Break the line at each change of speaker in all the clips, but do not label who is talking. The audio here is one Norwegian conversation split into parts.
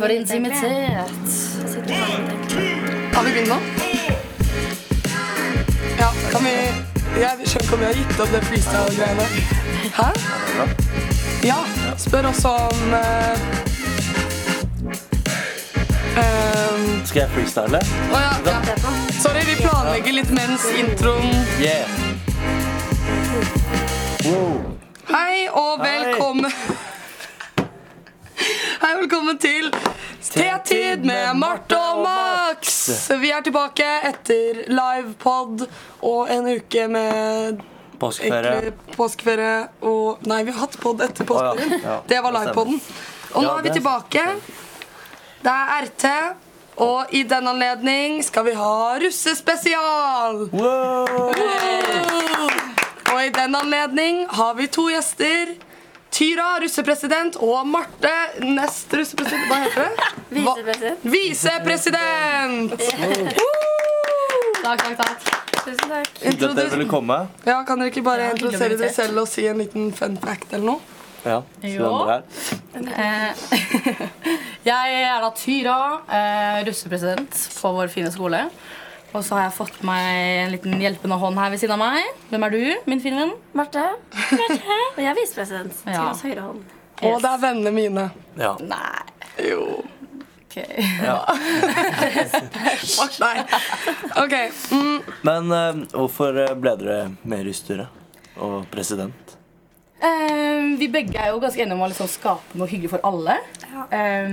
For intimitet.
Har vi begynt nå? Ja, kan vi Jeg skjønner ikke om vi har gitt opp det freestyle-greiene. Hæ? Ja. Spør også om eh, eh,
Skal jeg freestyle?
Å ja, ja. Sorry, vi planlegger litt mens introen
Yeah. Wow.
Hei og
Hei.
velkommen Hei og velkommen til Tetid med Marte og Max. Vi er tilbake etter livepod og en uke med
Påskeferie.
egentlig påskeferie og Nei, vi har hatt pod etter påskeferien.
Å ja, ja,
Det var
det stemmer.
livepoden. Og nå
Ja,
er vi
det
tilbake. Det er RT, og i den anledning skal vi ha russespesial.
Wow.
Og i den anledning har vi to gjester. Tyra, russepresident, og Marte, nest russepresident Hva heter det?
Visepresident.
Hva- Visepresident!
Takk, takk, takk. Tusen takk.
Hyggelig at dere ville komme.
Ja, kan dere ikke bare
Ja, hyggelig å bli
introdusere dere
invitert.
selv og si en liten fun fact eller noe?
Ja. siden
Jo.
dere er her.
Eh, jeg er da Tyra, eh, russepresident på vår fine skole. Og så har jeg fått meg en liten hjelpende hånd her ved siden av meg. Hvem er du, min fine venn?
Marte. Marte. Og jeg er visepresident. Til
Ja.
hans høyre hånd.
Og det er vennene mine.
Ja.
Nei.
Jo.
ok.
Mart, nei. Ok. Mm,
Men eh, hvorfor eh, ble dere med i russestyret? Og president?
Eh, vi begge er jo ganske enige om å liksom skape noe hyggelig for alle. Eh,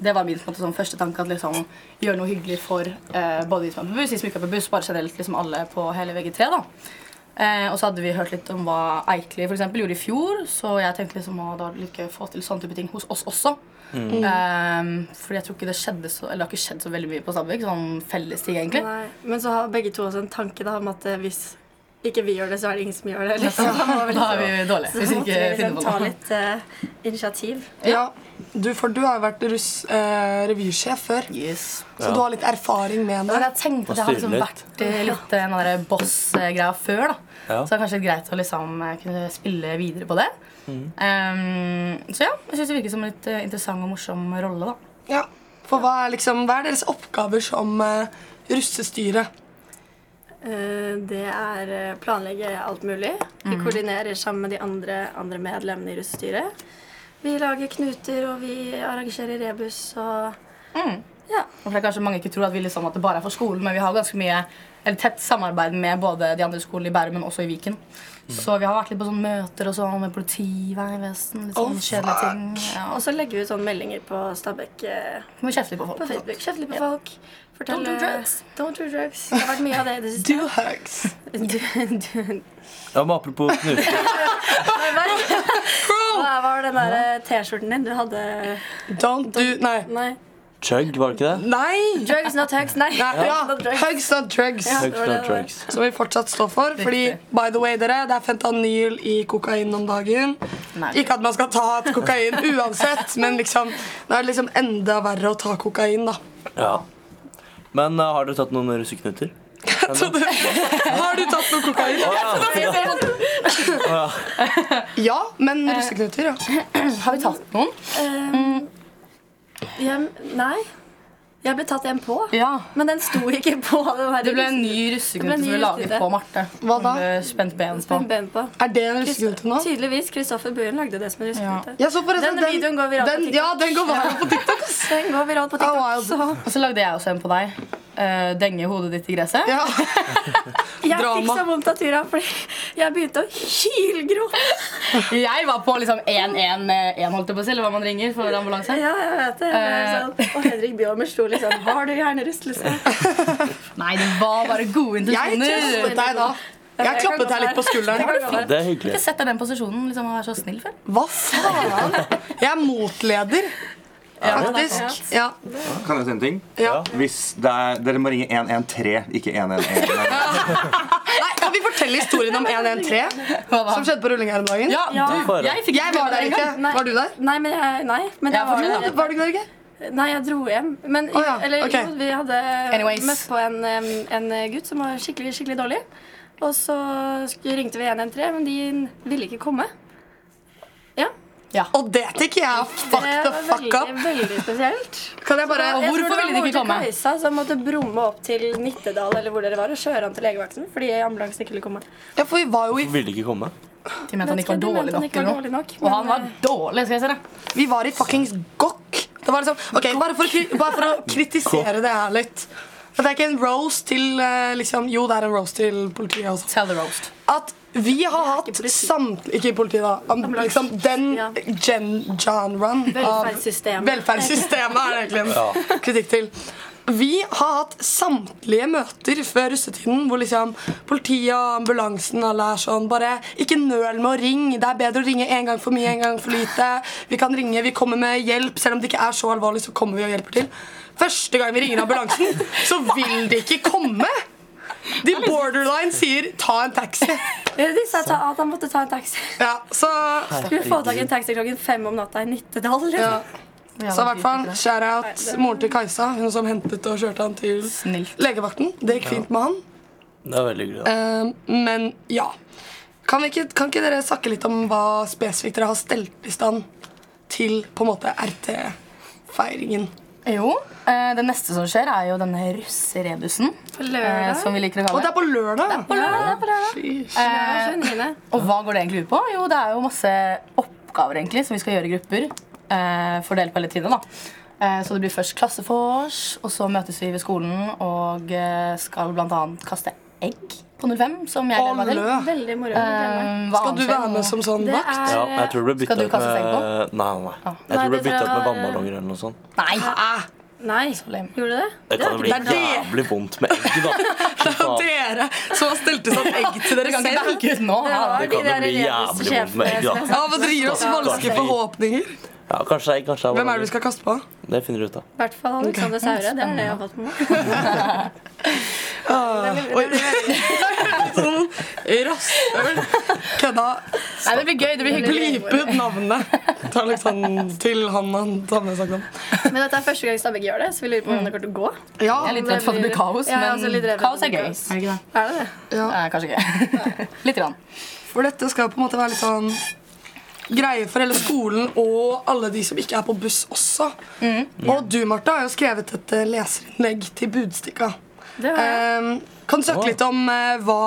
det var min på en måte, sånn, første tanke. at liksom, Gjøre noe hyggelig for eh, både de som er på buss, de som ikke er på buss. Bare generelt liksom, alle på hele VG3. da. Eh, og så hadde vi hørt litt om hva Eikli for eksempel, gjorde i fjor. Så jeg tenkte liksom, å, det var litt gøy å få til sånne type ting hos oss også.
Mm.
Eh, fordi jeg tror ikke det skjedde så, eller det har ikke skjedd så veldig mye på Stabekk. Sånn fellesting, egentlig.
Nei, men så har begge to også en tanke da, om at eh, hvis ikke vi gjør det, så er det ingen som gjør det. Liksom. Da må vi
Da
liksom-
er vi dårlige.
så
Hvis vi
måtte
ikke
vi liksom
finner
ta
på noe.
litt eh, initiativ.
ja, du, for du har jo vært russ, eh, revysjef før,
Yes.
så du har litt erfaring med
Men
det.
jeg tenkte at jeg
Og
har liksom
styre litt.
vært eh, litt eh, den der boss-greia før. da.
Ja.
Så det er kanskje greit å liksom eh, kunne spille videre på det. Ehm, så ja, jeg syns det virker som en litt eh, interessant og morsom rolle. da.
Ja, For hva er, liksom, hva er deres oppgaver som eh, russestyre?
Eh, Det er eh, planlegge alt mulig.
Mm.
Vi koordinerer sammen med de andre, andre medlemmene i russestyret. Vi lager knuter, og vi arrangerer rebus og
Mm.
ja.
Og for det er kanskje mange ikke tror at vi liksom at det bare er for skolen, men vi har ganske mye eller tett samarbeid med både de andre skolene i Bærum, men også i Viken. Så vi har vært litt på sånne møter og sånn med politi, Vegvesen, litt sånn
Oh,
kjedelige ting. Ja,
Og
og
så legger vi ut sånne meldinger på Stabekk eh,
så må vi kjefte litt på folk.
på Facebook. Kjeft litt på folk.
Don't
Fortelle-
do drugs.
Don't do drugs. Det har vært mye av det i det siste.
Do hugs.
Du- du-
ja, men apropos knuter.
Hva var den der eh, T-skjorten din du hadde
Don't do Nei.
Nei.
Chug, var det ikke det?
Nei!
Drugs, not hugs. Nei.
Nei, ja.
Not drugs.
Hugs not drugs.
Ja. det
Chug,
var
not
det det var.
drugs.
Som vi fortsatt står for. Fordi, by the way, dere, det er fentanyl i kokain om dagen.
Nei.
Ikke at man skal ta et kokain uansett, men liksom, det er liksom enda verre å ta kokain, da.
Ja. Men eh, har dere tatt noen russeknuter?
Så du, har du tatt noe kokain?
sånn,
Ja, men russeknuter, ja.
Har vi tatt noen?
Ehm, jeg, nei. Jeg ble tatt en på,
Ja.
men den sto ikke på. den her
Det ble en ny russeknute
Det ble en
som
ny
ble laget
russeknute.
på Marte.
Hva da?
Hun ble Spent ben på.
Spent ben på.
Er det en russeknute nå?
Tydeligvis. Kristoffer Buen lagde det som en russeknute.
Ja, så forresten,
Denne videoen går viralt på
den,
TikTok.
ja, den går varm på TikTok.
ass. Den går viralt på TikTok.
Oh, wild.
så.
Og så lagde jeg også en på deg. Eh, denge hodet ditt i gresset.
Ja.
Jeg fikk
Drama.
så vondt av Tyra, fordi jeg begynte å hylgråte.
Jeg var på liksom 111, holdt jeg på å si, eller hva man ringer for ambulanse.
Ja, jeg vet det.
Eh.
Jeg ble sånn. Og Henrik Bjormer sto litt sånn Har du hjernerystelse?
Nei, det var bare gode
Jeg
intensjoner.
trøstet
Jeg
deg da. Jeg klappet deg litt på skulderen.
Det er
har
hyggelig.
ikke sett deg i den posisjonen liksom, å være så snill før.
Hva faen? Jeg er motleder, faktisk. Ja,
Kan jeg si en ting?
ja.
Hvis det er, dere må ringe 113, ikke 111.
Nei, Kan vi fortelle historien om 113
Hva da?
som skjedde på rulling her om dagen?
Ja,
Ja.
du, jeg fikk
Jeg var der ikke.
Nei.
Var du der?
Nei, men jeg, nei, men
Jeg
jeg var
fortjener
der.
Var du ikke der, ikke?
Nei, jeg dro hjem. Men
Å ja,
eller,
ok.
jo, vi hadde
Anyways.
møtt på en, em, en gutt som var skikkelig, skikkelig dårlig. Og så sk- ringte vi 113, men de ville ikke komme. Ja.
Ja.
Og det tenker jeg er fuck
Det
the
var
fuck
veldig,
up.
veldig spesielt.
Kan jeg bare
Jeg tror
hvorfor
det
ville
var
de ikke
mor til
komme?
Kajsa som måtte bromme opp til Nittedal eller hvor dere var, og kjøre han til legevakten fordi ambulansen ikke ville komme.
Ja, for vi var jo i,
Ville ikke komme.
De mente han ikke var
De mente
dårlig
han
nok.
ikke var
eller noe.
dårlig nok,
Og han
men,
var dårlig, skal jeg si det.
vi var i fuckings gokk. Det var liksom, ok, bare for, å, kri- bare for å kritisere det her litt. For det er ikke en roast til eh, liksom, Jo, det er en roast til politiet også.
Tell the roast.
At vi har hatt samt... Ikke politiet, da. Am, liksom den
Ja.
gen, genren av
Velferdssystemet.
Velferdssystemet er det egentlig en kritikk til. Vi har hatt samtlige møter før russetiden hvor liksom politiet og ambulansen alle er sånn Bare ikke nøl med å ringe. Det er bedre å ringe en gang for mye, en gang for lite. Vi kan ringe, vi kommer med hjelp. Selv om det ikke er så alvorlig, så kommer vi og hjelper til. Første gang vi ringer ambulansen, så vil de ikke komme. De borderline sier 'ta en taxi'.
De sa ta- at han måtte ta en taxi.
Ja, så
Skulle få tak i en taxi klokken fem om natta i Nittedal. Liksom.
ja. Så i hvert fall, shout-out moren til Kajsa, hun som hentet og kjørte han til
Snilt.
legevakten. Det gikk fint med han.
Det er veldig hyggelig. da.
Eh, men ja. Kan, vi ikke, kan ikke dere snakke litt om hva spesifikt dere har stelt i stand til på en måte RT-feiringen?
Jo. eh, Det neste som skjer, er jo denne russerebusen. eh,
lørdag.
Som vi liker å
Og det
kalle det.
er på lørdag!
Ja, det er på lørdag.
Sheesh.
Ja,
Eh,
29..
Og hva går det egentlig ut på? Jo, det er jo masse oppgaver egentlig som vi skal gjøre i grupper. Eh, fordelt på hele tiden, da. Eh, så det blir først klassefors, og så møtes vi ved skolen og eh, skal bl.a. kaste egg på 05, som jeg gleder meg til.
Alle.
Veldig moro.
Eh, hva
Skal
annet
du
skjer
være
nå?
med som sånn
Det
vakt?
Ja,
er
jeg tror det ble
Skal
bytta
du
ut
kaste
med
senk
Nei, nei. Jeg tror det
Nei,
ble
det
bytta ut med
var-
vannballonger eller noe sånt.
Nei!
Nei,
lame.
gjorde du det?
Det kan jo bli
det er det.
jævlig vondt med egg, da. Fy faen.
Dere som har stelt i stand egg til
Du
dere
kan ikke
selv?
backe ut nå.
Det
Ja,
var
Det
de
kan jo
der
bli jævlig
reduste
altså. vondt med egg,
sjefene som-
da.
Ja, men Dere gir oss falske forhåpninger.
Ja, kanskje det er egg, kanskje
Hvem er det
det er vannballonger.
vi skal kaste på?
Det finner du ut av.
I hvert fall Alexander Saure. Det er det jeg har fått med meg.
Ah, oi. Sånn rasshøl. Kødda.
Nei, det blir gøy. det blir hyggelig.
Bleep ut navnet til Alexander til han han samme snakket om.
Men dette er første gang Stabæk gjør det, så vi lurer på
Mm.
hvordan det kommer til å gå.
Ja,
Jeg er litt redd for at det blir kaos,
Ja, jeg er også litt
men
redd for at
kaos
det
er
blir
gøy.
kaos.
Er det ikke det?
Er det det?
Nei, kanskje ikke. Litt. Grann.
for dette skal på en måte være litt sånn greie for hele skolen og alle de som ikke er på buss også.
Mm.
Og du, Martha, har jo skrevet et eh, leserinnlegg til Budstikka.
Det har jeg.
Ehm, kan du snakke litt om eh, hva,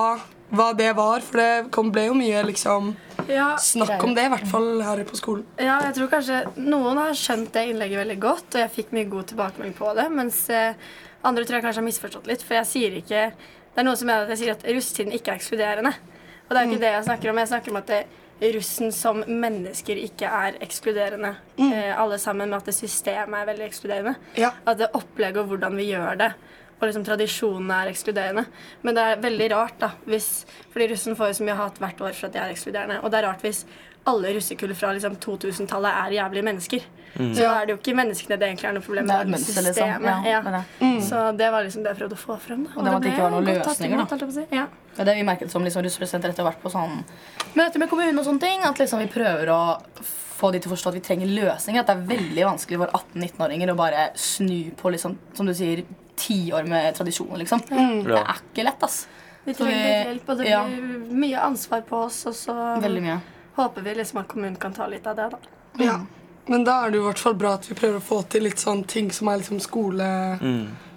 hva det var? For det kom, ble jo mye liksom,
Ja,
snakk om det, i hvert fall her på skolen.
ja, jeg tror kanskje noen har skjønt det innlegget veldig godt, og jeg fikk mye god tilbakemelding på det, mens eh, andre tror jeg kanskje har misforstått litt, for jeg sier ikke Det er noen som mener at jeg sier at russetiden ikke er ekskluderende. Og det er ikke det jeg snakker om. Jeg snakker om at det, russen som mennesker ikke er ekskluderende. Eh, alle sammen, med at det systemet er veldig ekskluderende.
Ja.
At det opplegget og hvordan vi gjør det, og liksom tradisjonene er ekskluderende. Men det er veldig rart, da, hvis Fordi russen får jo så mye hat hvert år for at de er ekskluderende. Og det er rart hvis alle russekull fra liksom 2000-tallet er jævlige mennesker. Så da er det jo ikke menneskene det egentlig er noe problem
Det er
med.
et mønster, liksom. Ja,
Ja. Mm.
det er det.
Så det var liksom det jeg prøvde å få frem. Da.
Og det var at det ikke var noen
ble godt tatt
løsninger, da.
imot, holdt jeg på å si. Ja.
Det er det vi merket som liksom russepresidenter etter hvert på sånn møter med kommunen og sånne ting. At liksom vi prøver å få de til å forstå at vi trenger løsninger. At det er veldig vanskelig for 18-19-åringer å bare snu på liksom, som du sier, tiår med tradisjoner, liksom. Det er ikke lett, ass.
Vi
Så vi-
trenger litt hjelp, og det
ja.
blir mye ansvar på oss. Og så
Veldig mye.
håper vi liksom at kommunen kan ta litt av det, da.
Mm.
Ja, men da er det jo i hvert fall bra at vi prøver å få til litt sånn ting som er liksom skole,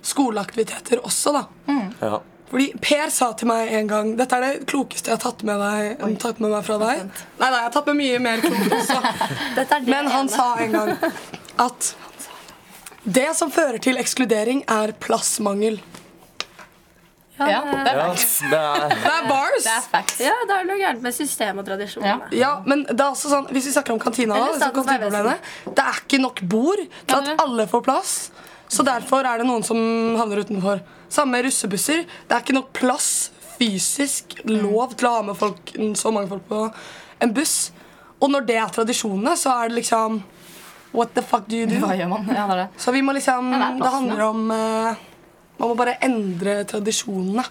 skoleaktiviteter også, da.
Ja.
Fordi Per sa til meg en gang Dette er det klokeste jeg har tatt med, deg, tatt med meg fra deg. Nei, nei, jeg har tatt med mye mer klokt også.
Dette er det
Men han
ene.
sa en gang at det som fører til ekskludering, er plassmangel.
Ja, det er
ja,
facts.
det er
Det er bars!
Det er facts.
Ja, da er det noe gærent med systemet og tradisjonene.
Ja, men det er også sånn, Hvis vi snakker om kantina, da,
Eller
liksom
Statens vegvesen.
kantineproblemet, det er ikke nok bord til
det
at alle får plass. Så derfor er det noen som havner utenfor. Samme med russebusser. Det er ikke nok plass fysisk lov til å ha med folk, så mange folk på en buss. Og når det er tradisjonene, så er det liksom What the fuck do you do?
Hva gjør man? Ja, det er det.
Så vi må liksom
det er
Det
plassen,
handler om eh, Man må bare endre tradisjonene.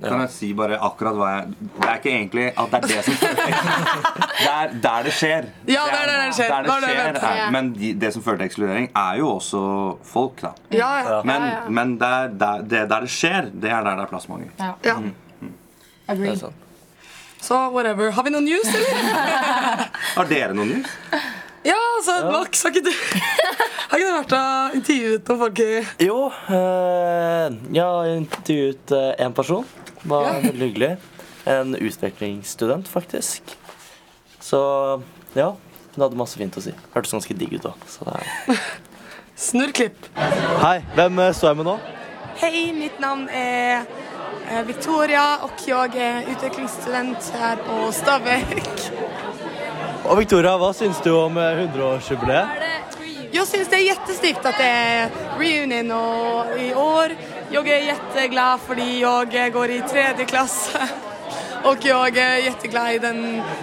Kan jeg si bare akkurat hva jeg Det er ikke egentlig at det er det som Det er der det skjer.
Ja, det er der det skjer.
Der
Det var det jeg
skjer,
mente.
er- men de, det som fører til ekskludering, er jo også folk, da.
Ja, ja.
Men, men der, der, det, der det skjer, det er der det er plassmangel.
ja.
det er sånn.
Agreed.
sant.
Så whatever. Har vi noen news, eller?
Har dere noen news?
altså, Max, har ikke du Har ikke du vært og intervjuet noen folk i
Jo, eh, jeg har intervjuet eh, en person. Det var veldig hyggelig. En utvekslingsstudent, faktisk. Så ja, hun hadde masse fint å si. Hørtes ganske digg ut òg.
Snurrklipp?
Hei, hvem eh, står jeg med nå?
Hei, mitt navn er eh, Victoria, og jeg er utviklingsstudent her på Stabekk.
Og Victoria, hva syns du om eh, 100-årsjubileet?
Jeg syns det er kjempestygt at det er reunion og i år. Jeg er kjempeglad fordi jeg går i tredje klasse. Og jeg er kjempeglad i den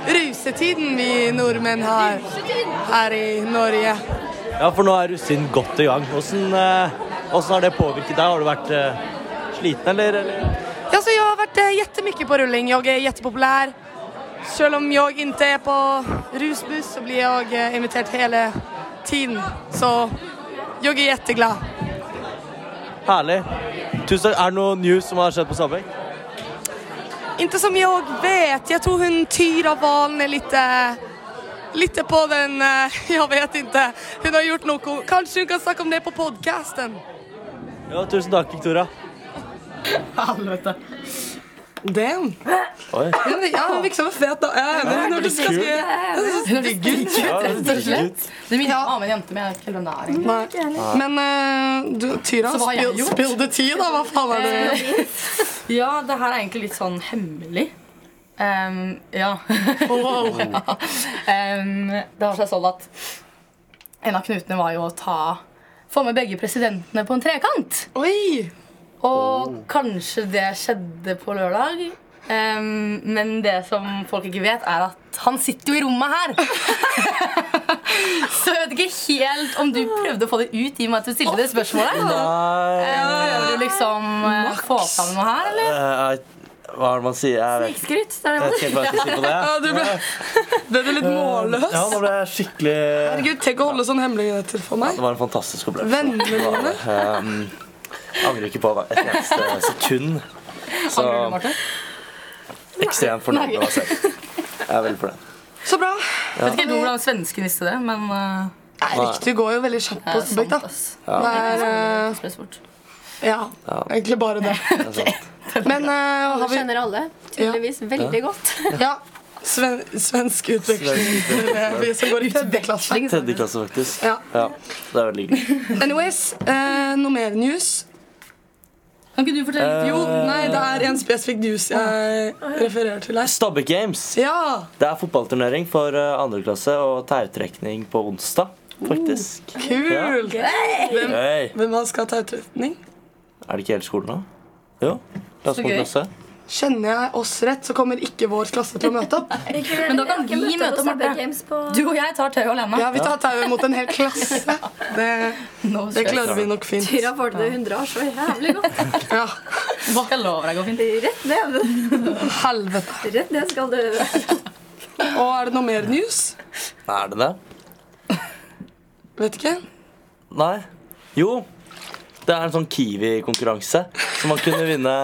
rusetiden vi nordmenn har her i Norge.
Ja, for nå er russetiden godt i gang. Åssen eh, åssen har det påvirket deg? Har du vært eh, sliten, eller? eller?
Ja, så jeg har vært eh, jättemycket på rulling. Jeg er jättepopulär. Selv om jeg ikke er på rusbuss så blir jeg eh, invitert hele tiden. Så jeg er jätteglad.
Herlig. Tusen takk. Er det noe news som har skjedd på Stabekk?
Inte som jag vet. Jag tror hon Tyra Valen är lite, lite eh, på den, eh, jag vet inte. Hon har gjort något. Kanske hon kan snacka om det på podcasten.
Ja, tusen takk, Victoria.
Helvete.
Damn.
Oi.
Ja, hun virker som en fet da. Ja, hun hørtes ganske stygg ut.
Ja,
Rett og slett. Det minner meg om en jente, men jeg vet ikke helt hvem det er. egentlig.
Nei. Men eh, du, Tyra,
Så hva har jeg
spill,
gjort? Eh.
spill the tea, da. Hva faen er det?
Ja, det her er egentlig litt sånn hemmelig. Ehm, ja. Ehm, det har seg sånn at en av knutene var jo å ta få med begge presidentene på en trekant.
Oi!
Og kanskje det skjedde på lørdag. Ehm, men det som folk ikke vet, er at han sitter jo i rommet her. Så jeg vet ikke helt om du prøvde å få det ut i og med at du stilte det spørsmålet.
Nei
Prøver du liksom eh, få fram noe her, eller?
Eh, jeg- Hva er det man sier? Jeg vet ikke.
Skryt. Det er det
Jeg vet ikke helt hva jeg skal si på det.
Ja,
jeg.
du ble, ble du litt målløs?
Ja, nå ble jeg skikkelig
Herregud, tenk å holde sånn hemmeligheter for meg.
Det var en fantastisk opplevelse.
Vennene dine.
Um, angrer ikke på et eneste sekund. Så
Angrer du, Martin?
ekstremt fornøyd med meg selv. Jeg er veldig fornøyd.
Så bra.
Jeg vet ikke helt hvordan svenskene visste det, men eh,
Nei, riktig går jo veldig kjapt
det
på
er
Stabæk, da.
ass.
Det er eh,
Spes bort.
ja, egentlig bare det. Men eh, har
Alle
vi
kjenner alle. Tydeligvis veldig godt.
Ja. Sven, svensk utveksling. Vi som går i tredje klasse.
Tredje klasse, faktisk.
Ja.
Ja, det er veldig hyggelig.
sånn.
Anyways, eh, noe mer news?
Kan ikke du fortelle litt?
Jo, nei, det er en spesifikk news
Ah.
jeg refererer til her.
Stabbe Games.
Ja!
Det er fotballturnering for eh, andre klasse og tautrekning på onsdag, faktisk.
Oh,
Kult! Hvem,
Hey.
hvem man skal ta utretning?
Er det ikke hele skolen, da? Jo. Klasse på
gøy.
klasse.
Kjenner jeg oss rett, så kommer ikke vår klasse til å møte opp.
Men
da kan vi møte opp, Marte. Du og jeg tar tauet alene.
Ja, Vi tar tauet mot en hel klasse. Det,
No
det
stress.
klarer vi nok fint.
Tyra får det 100 år så jævlig godt.
Ja,
Jeg lover deg går fint.
Rett ned.
Helvete.
Rett ned skal du.
Og er det noe mer news?
Er det det?
Vet ikke.
Nei. Jo. Det er en sånn Kiwi-konkurranse. Så man kunne vinne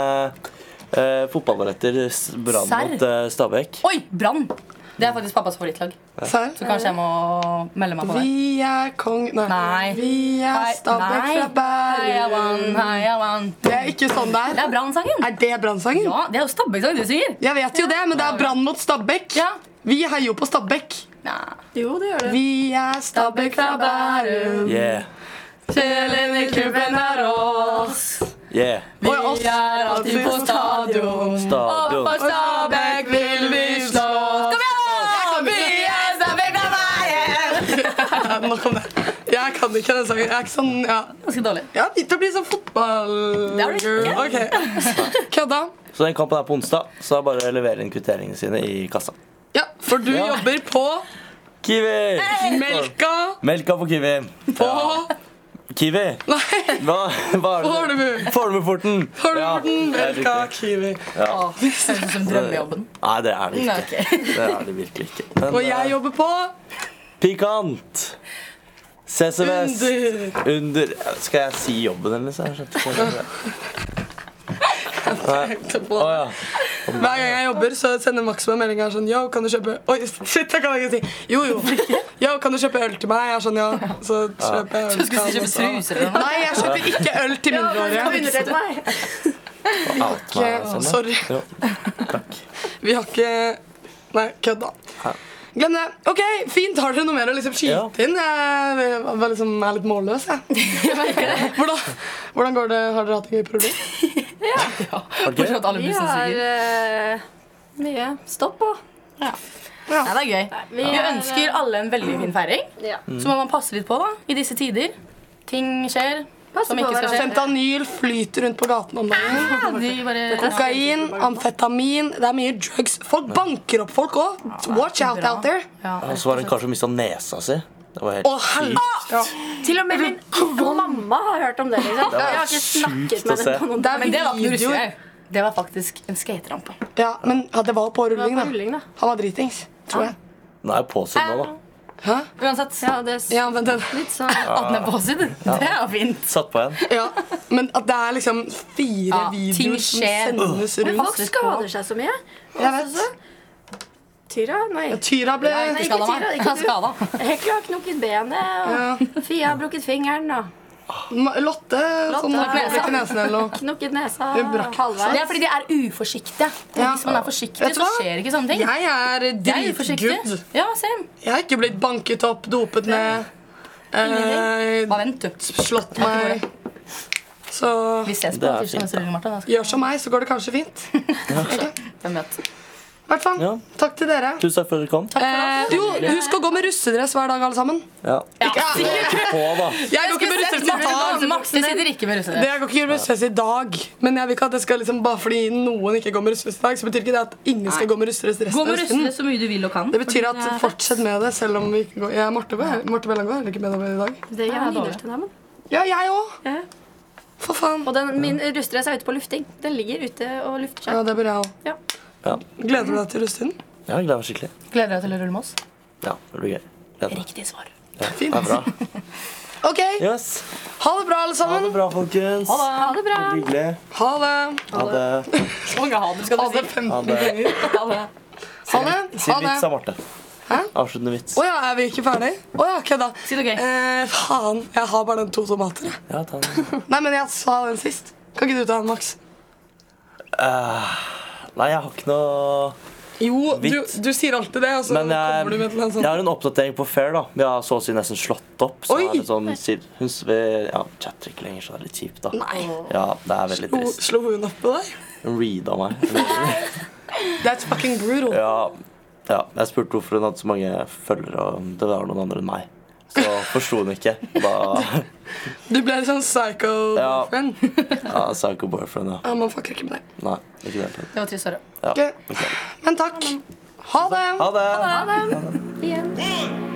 eh, fotballbilletter s- Brann
Serr?
mot eh, Stabæk.
Oi, Brann! Det er faktisk pappas favorittlag.
Serr?
Så kanskje jeg må melde meg på det.
Vi er kong Nei.
Nei.
Vi er Stabæk fra
Heia Brann,
Bærum.
heia Brann.
Det er ikke sånn det
Det
er.
er Brann-sangen.
Er det Brann-sangen?
Ja, det er jo Stabæk-sangen du synger.
Jeg vet jo det, men det er Brann mot Stabæk.
Ja.
Vi heier jo på Stabæk.
Nei.
Jo, det gjør det.
Vi er Stabæk fra Bærum.
Yeah.
Sjelen i klubben er oss.
Yeah.
Vi er alltid på stadion.
Stadion.
Stabæk vil vi slå. Kom igjen! Vi er Stabæk fra veien! Nok om det. Jeg kan ikke den sangen. Jeg er ikke sånn, ja.
Ganske dårlig.
Jeg har begynt å bli sånn
er
sånn,
du
fotballgirl. Ok. Kødda.
Så den kampen er på onsdag, så det er bare å levere inn kvitteringene sine i kassa.
Ja, for du
Ja.
jobber på
Kiwi!
Melka
Melka på Kiwi.
på
Kiwi!
Nei,
Hva, hva er det?
Fornebu.
Fornebuporten.
Holmenkollen,
Ja, det er
Melka,
riktig.
Kiwi.
Åh, Høres ut som drømmejobben.
Nei, det er det
Nei,
ikke.
ok.
Det er det virkelig ikke. Men,
Og
eh,
jeg jobber på
Pikant. CCVS.
Under.
Under Skal jeg sånn- si jobben hennes? Jeg skjønte ikke hva det var.
Etterpå.
Å ja.
Hver gang jeg jobber, så sender Max meg melding og er sånn Yo, kan du kjøpe Oi, shit, jeg kan ikke si Jo, jo. Yo, kan du kjøpe øl til meg? Jeg er sånn, ja. Så kjøper jeg øl.
Du skulle
til
si kjøpe
han også.
struser eller noe.
Nei, jeg kjøper ikke øl til mindreårige.
Underredd meg.
Out
Ikke,
meg, Sanne.
sorry.
sånn, Jo, Takk.
Vi har ikke Nei, kødda.
Ja.
Glem det. Ok, Fint. Har dere noe mer å liksom skyte
Ja.
inn? Jeg var liksom, er litt målløs, jeg. hvordan, hvordan går det? Har dere hatt det gøy på rull?
Var det
Bortsett
gøy?
fra at alle
Vi
blir så
har
syke.
eh, mye stopp på.
Nei, det er gøy.
Vi
Vi
er, eh,
ønsker alle en veldig fin feiring.
Ja.
Mm.
Så må man passe litt på da, i disse tider. Ting skjer som
på
ikke skal skje.
Fentanyl flyter rundt på gaten om dagen.
Ja, de bare...
Kokain, amfetamin. Det er mye drugs. Folk banker opp folk òg. Watch out out there.
Ja.
Og så var det en kar som mista nesa si. Det var helt
Å, helvete! Ja.
eh, Til og med min mamma har hørt om det. liksom. Jeg har ikke snakket
sjukt å
med
se.
henne på noen
Det er
Men det var ikke noe
videoer.
russegreier. Det var faktisk en skaterampe.
Ja, men ja, det var på rulling,
på rulling, da.
da. Han var dritings, tror jeg.
Den er jo påsydd nå, da.
Uansett,
Ja, det er
Ja, men, den,
litt sånn
at den er påsydd, det er fint.
Satt på en.
ja. men at det er liksom fire
Ja, ting
videoer som
skjer.
sendes rundt.
Folk skader seg så mye.
Jeg vet.
Tyra? Nei.
Tyra ble
Nei, ikke
Skada meg.
Tyra, ikke
Jeg er
du.
skada.
Hekla har knukket benet,
ja.
og Fia har brukket fingeren. Og
Ma- Lotte, som
har
har brukket nesen eller noe.
knukket nesa
Hun brakk
halvveis.
Det er fordi de er uforsiktige. Og
Ja.
hvis man er forsiktig,
Vet du
så
hva?
skjer ikke sånne ting.
Jeg er
Jeg er uforsiktig.
dritgood.
Ja, same.
Jeg har ikke blitt banket opp, dopet ned, eh,
Bare vent, du.
slått meg. Så
Vi ses
Det
på
er
tirsdag
fint,
neste uke, Martha. Da skal-
gjør som meg, så går det kanskje fint.
Hvem vet.
I hvert fall,
Ja.
takk til dere.
Tusen takk for at dere kom.
Eh, jo, husk å gå med russedress hver dag, alle sammen.
Ja.
Ja.
Ikke på, da.
Jeg går ikke med russedress i dag.
Max det sitter ikke med
Det,
russere.
jeg går ikke med russedress i dag, men jeg vil ikke at det skal liksom bare fordi noen ikke går med russedress i dag, så betyr ikke det at ingen skal gå med russedress
Gå
resten av
med
høsten.
russere så mye du vil og kan.
Det betyr at fortsett med det, selv om vi ikke går Jeg er Marte, Be- Marte Bellangaard, er det ikke med deg i dag?
Det gjør
Ja,
han
dårlig.
inntil dem.
Ja, jeg òg.
Ja.
For faen.
Og den, min rustress er ute på lufting. Den ligger ute og lufter
Ja,
seg.
det bør jeg òg.
Ja.
Ja.
Gleder du deg til russetiden?
Ja, jeg gleder meg skikkelig.
Gleder deg til å rulle med oss.
Ja, det blir gøy. Gleder meg.
Riktig svar.
Ja, det er bra.
OK,
Yes.
ha det bra, alle
Ha
sammen.
det bra, folkens.
Ha det bra.
Veldig Hyggelig.
Ha det.
Ha det.
Mange ha det, skal
Ha
du
det
si.
15
Ha det.
ganger.
Ha det.
Ha det.
Si
Ha
en vits
det.
da, Marte.
Hæ?
Avsluttende vits.
Å ja, er vi ikke ferdig? Å ja, kødda.
Si noe gøy.
Eh, faen, jeg har bare den to tomater. jeg.
Ja, ta den.
Nei, men jeg sa den sist. Kan ikke du ta den, Max?
Nei, jeg har ikke noe
Jo, du,
Vits.
du sier alltid det, og så
Men
kommer du
jeg,
med sånn et eller annet
jeg
sånt.
har en oppdatering på Fair. da Vi har så å si nesten slått opp. Så
Oi!
er det sånn, sier- hun s- ja, chatter ikke lenger, så det er litt kjipt. da
Nei.
Ja, Det er veldig
Slo,
trist.
slo hun opp på deg?
Hun reada meg.
That's fucking brutal.
Ja, ja, jeg spurte hvorfor hun hadde så mange følgere, og det var noen andre enn meg. Så forsto hun ikke. og Da
Du ble litt sånn psycho
Ja.
boyfriend.
ja, Psycho boyfriend, ja.
Ja, man fucker ikke med det.
Nei, ikke det.
Det var trist, sorry.
Ja.
Ok. Men takk. Ha det.
Ha det!
Igjen.
One,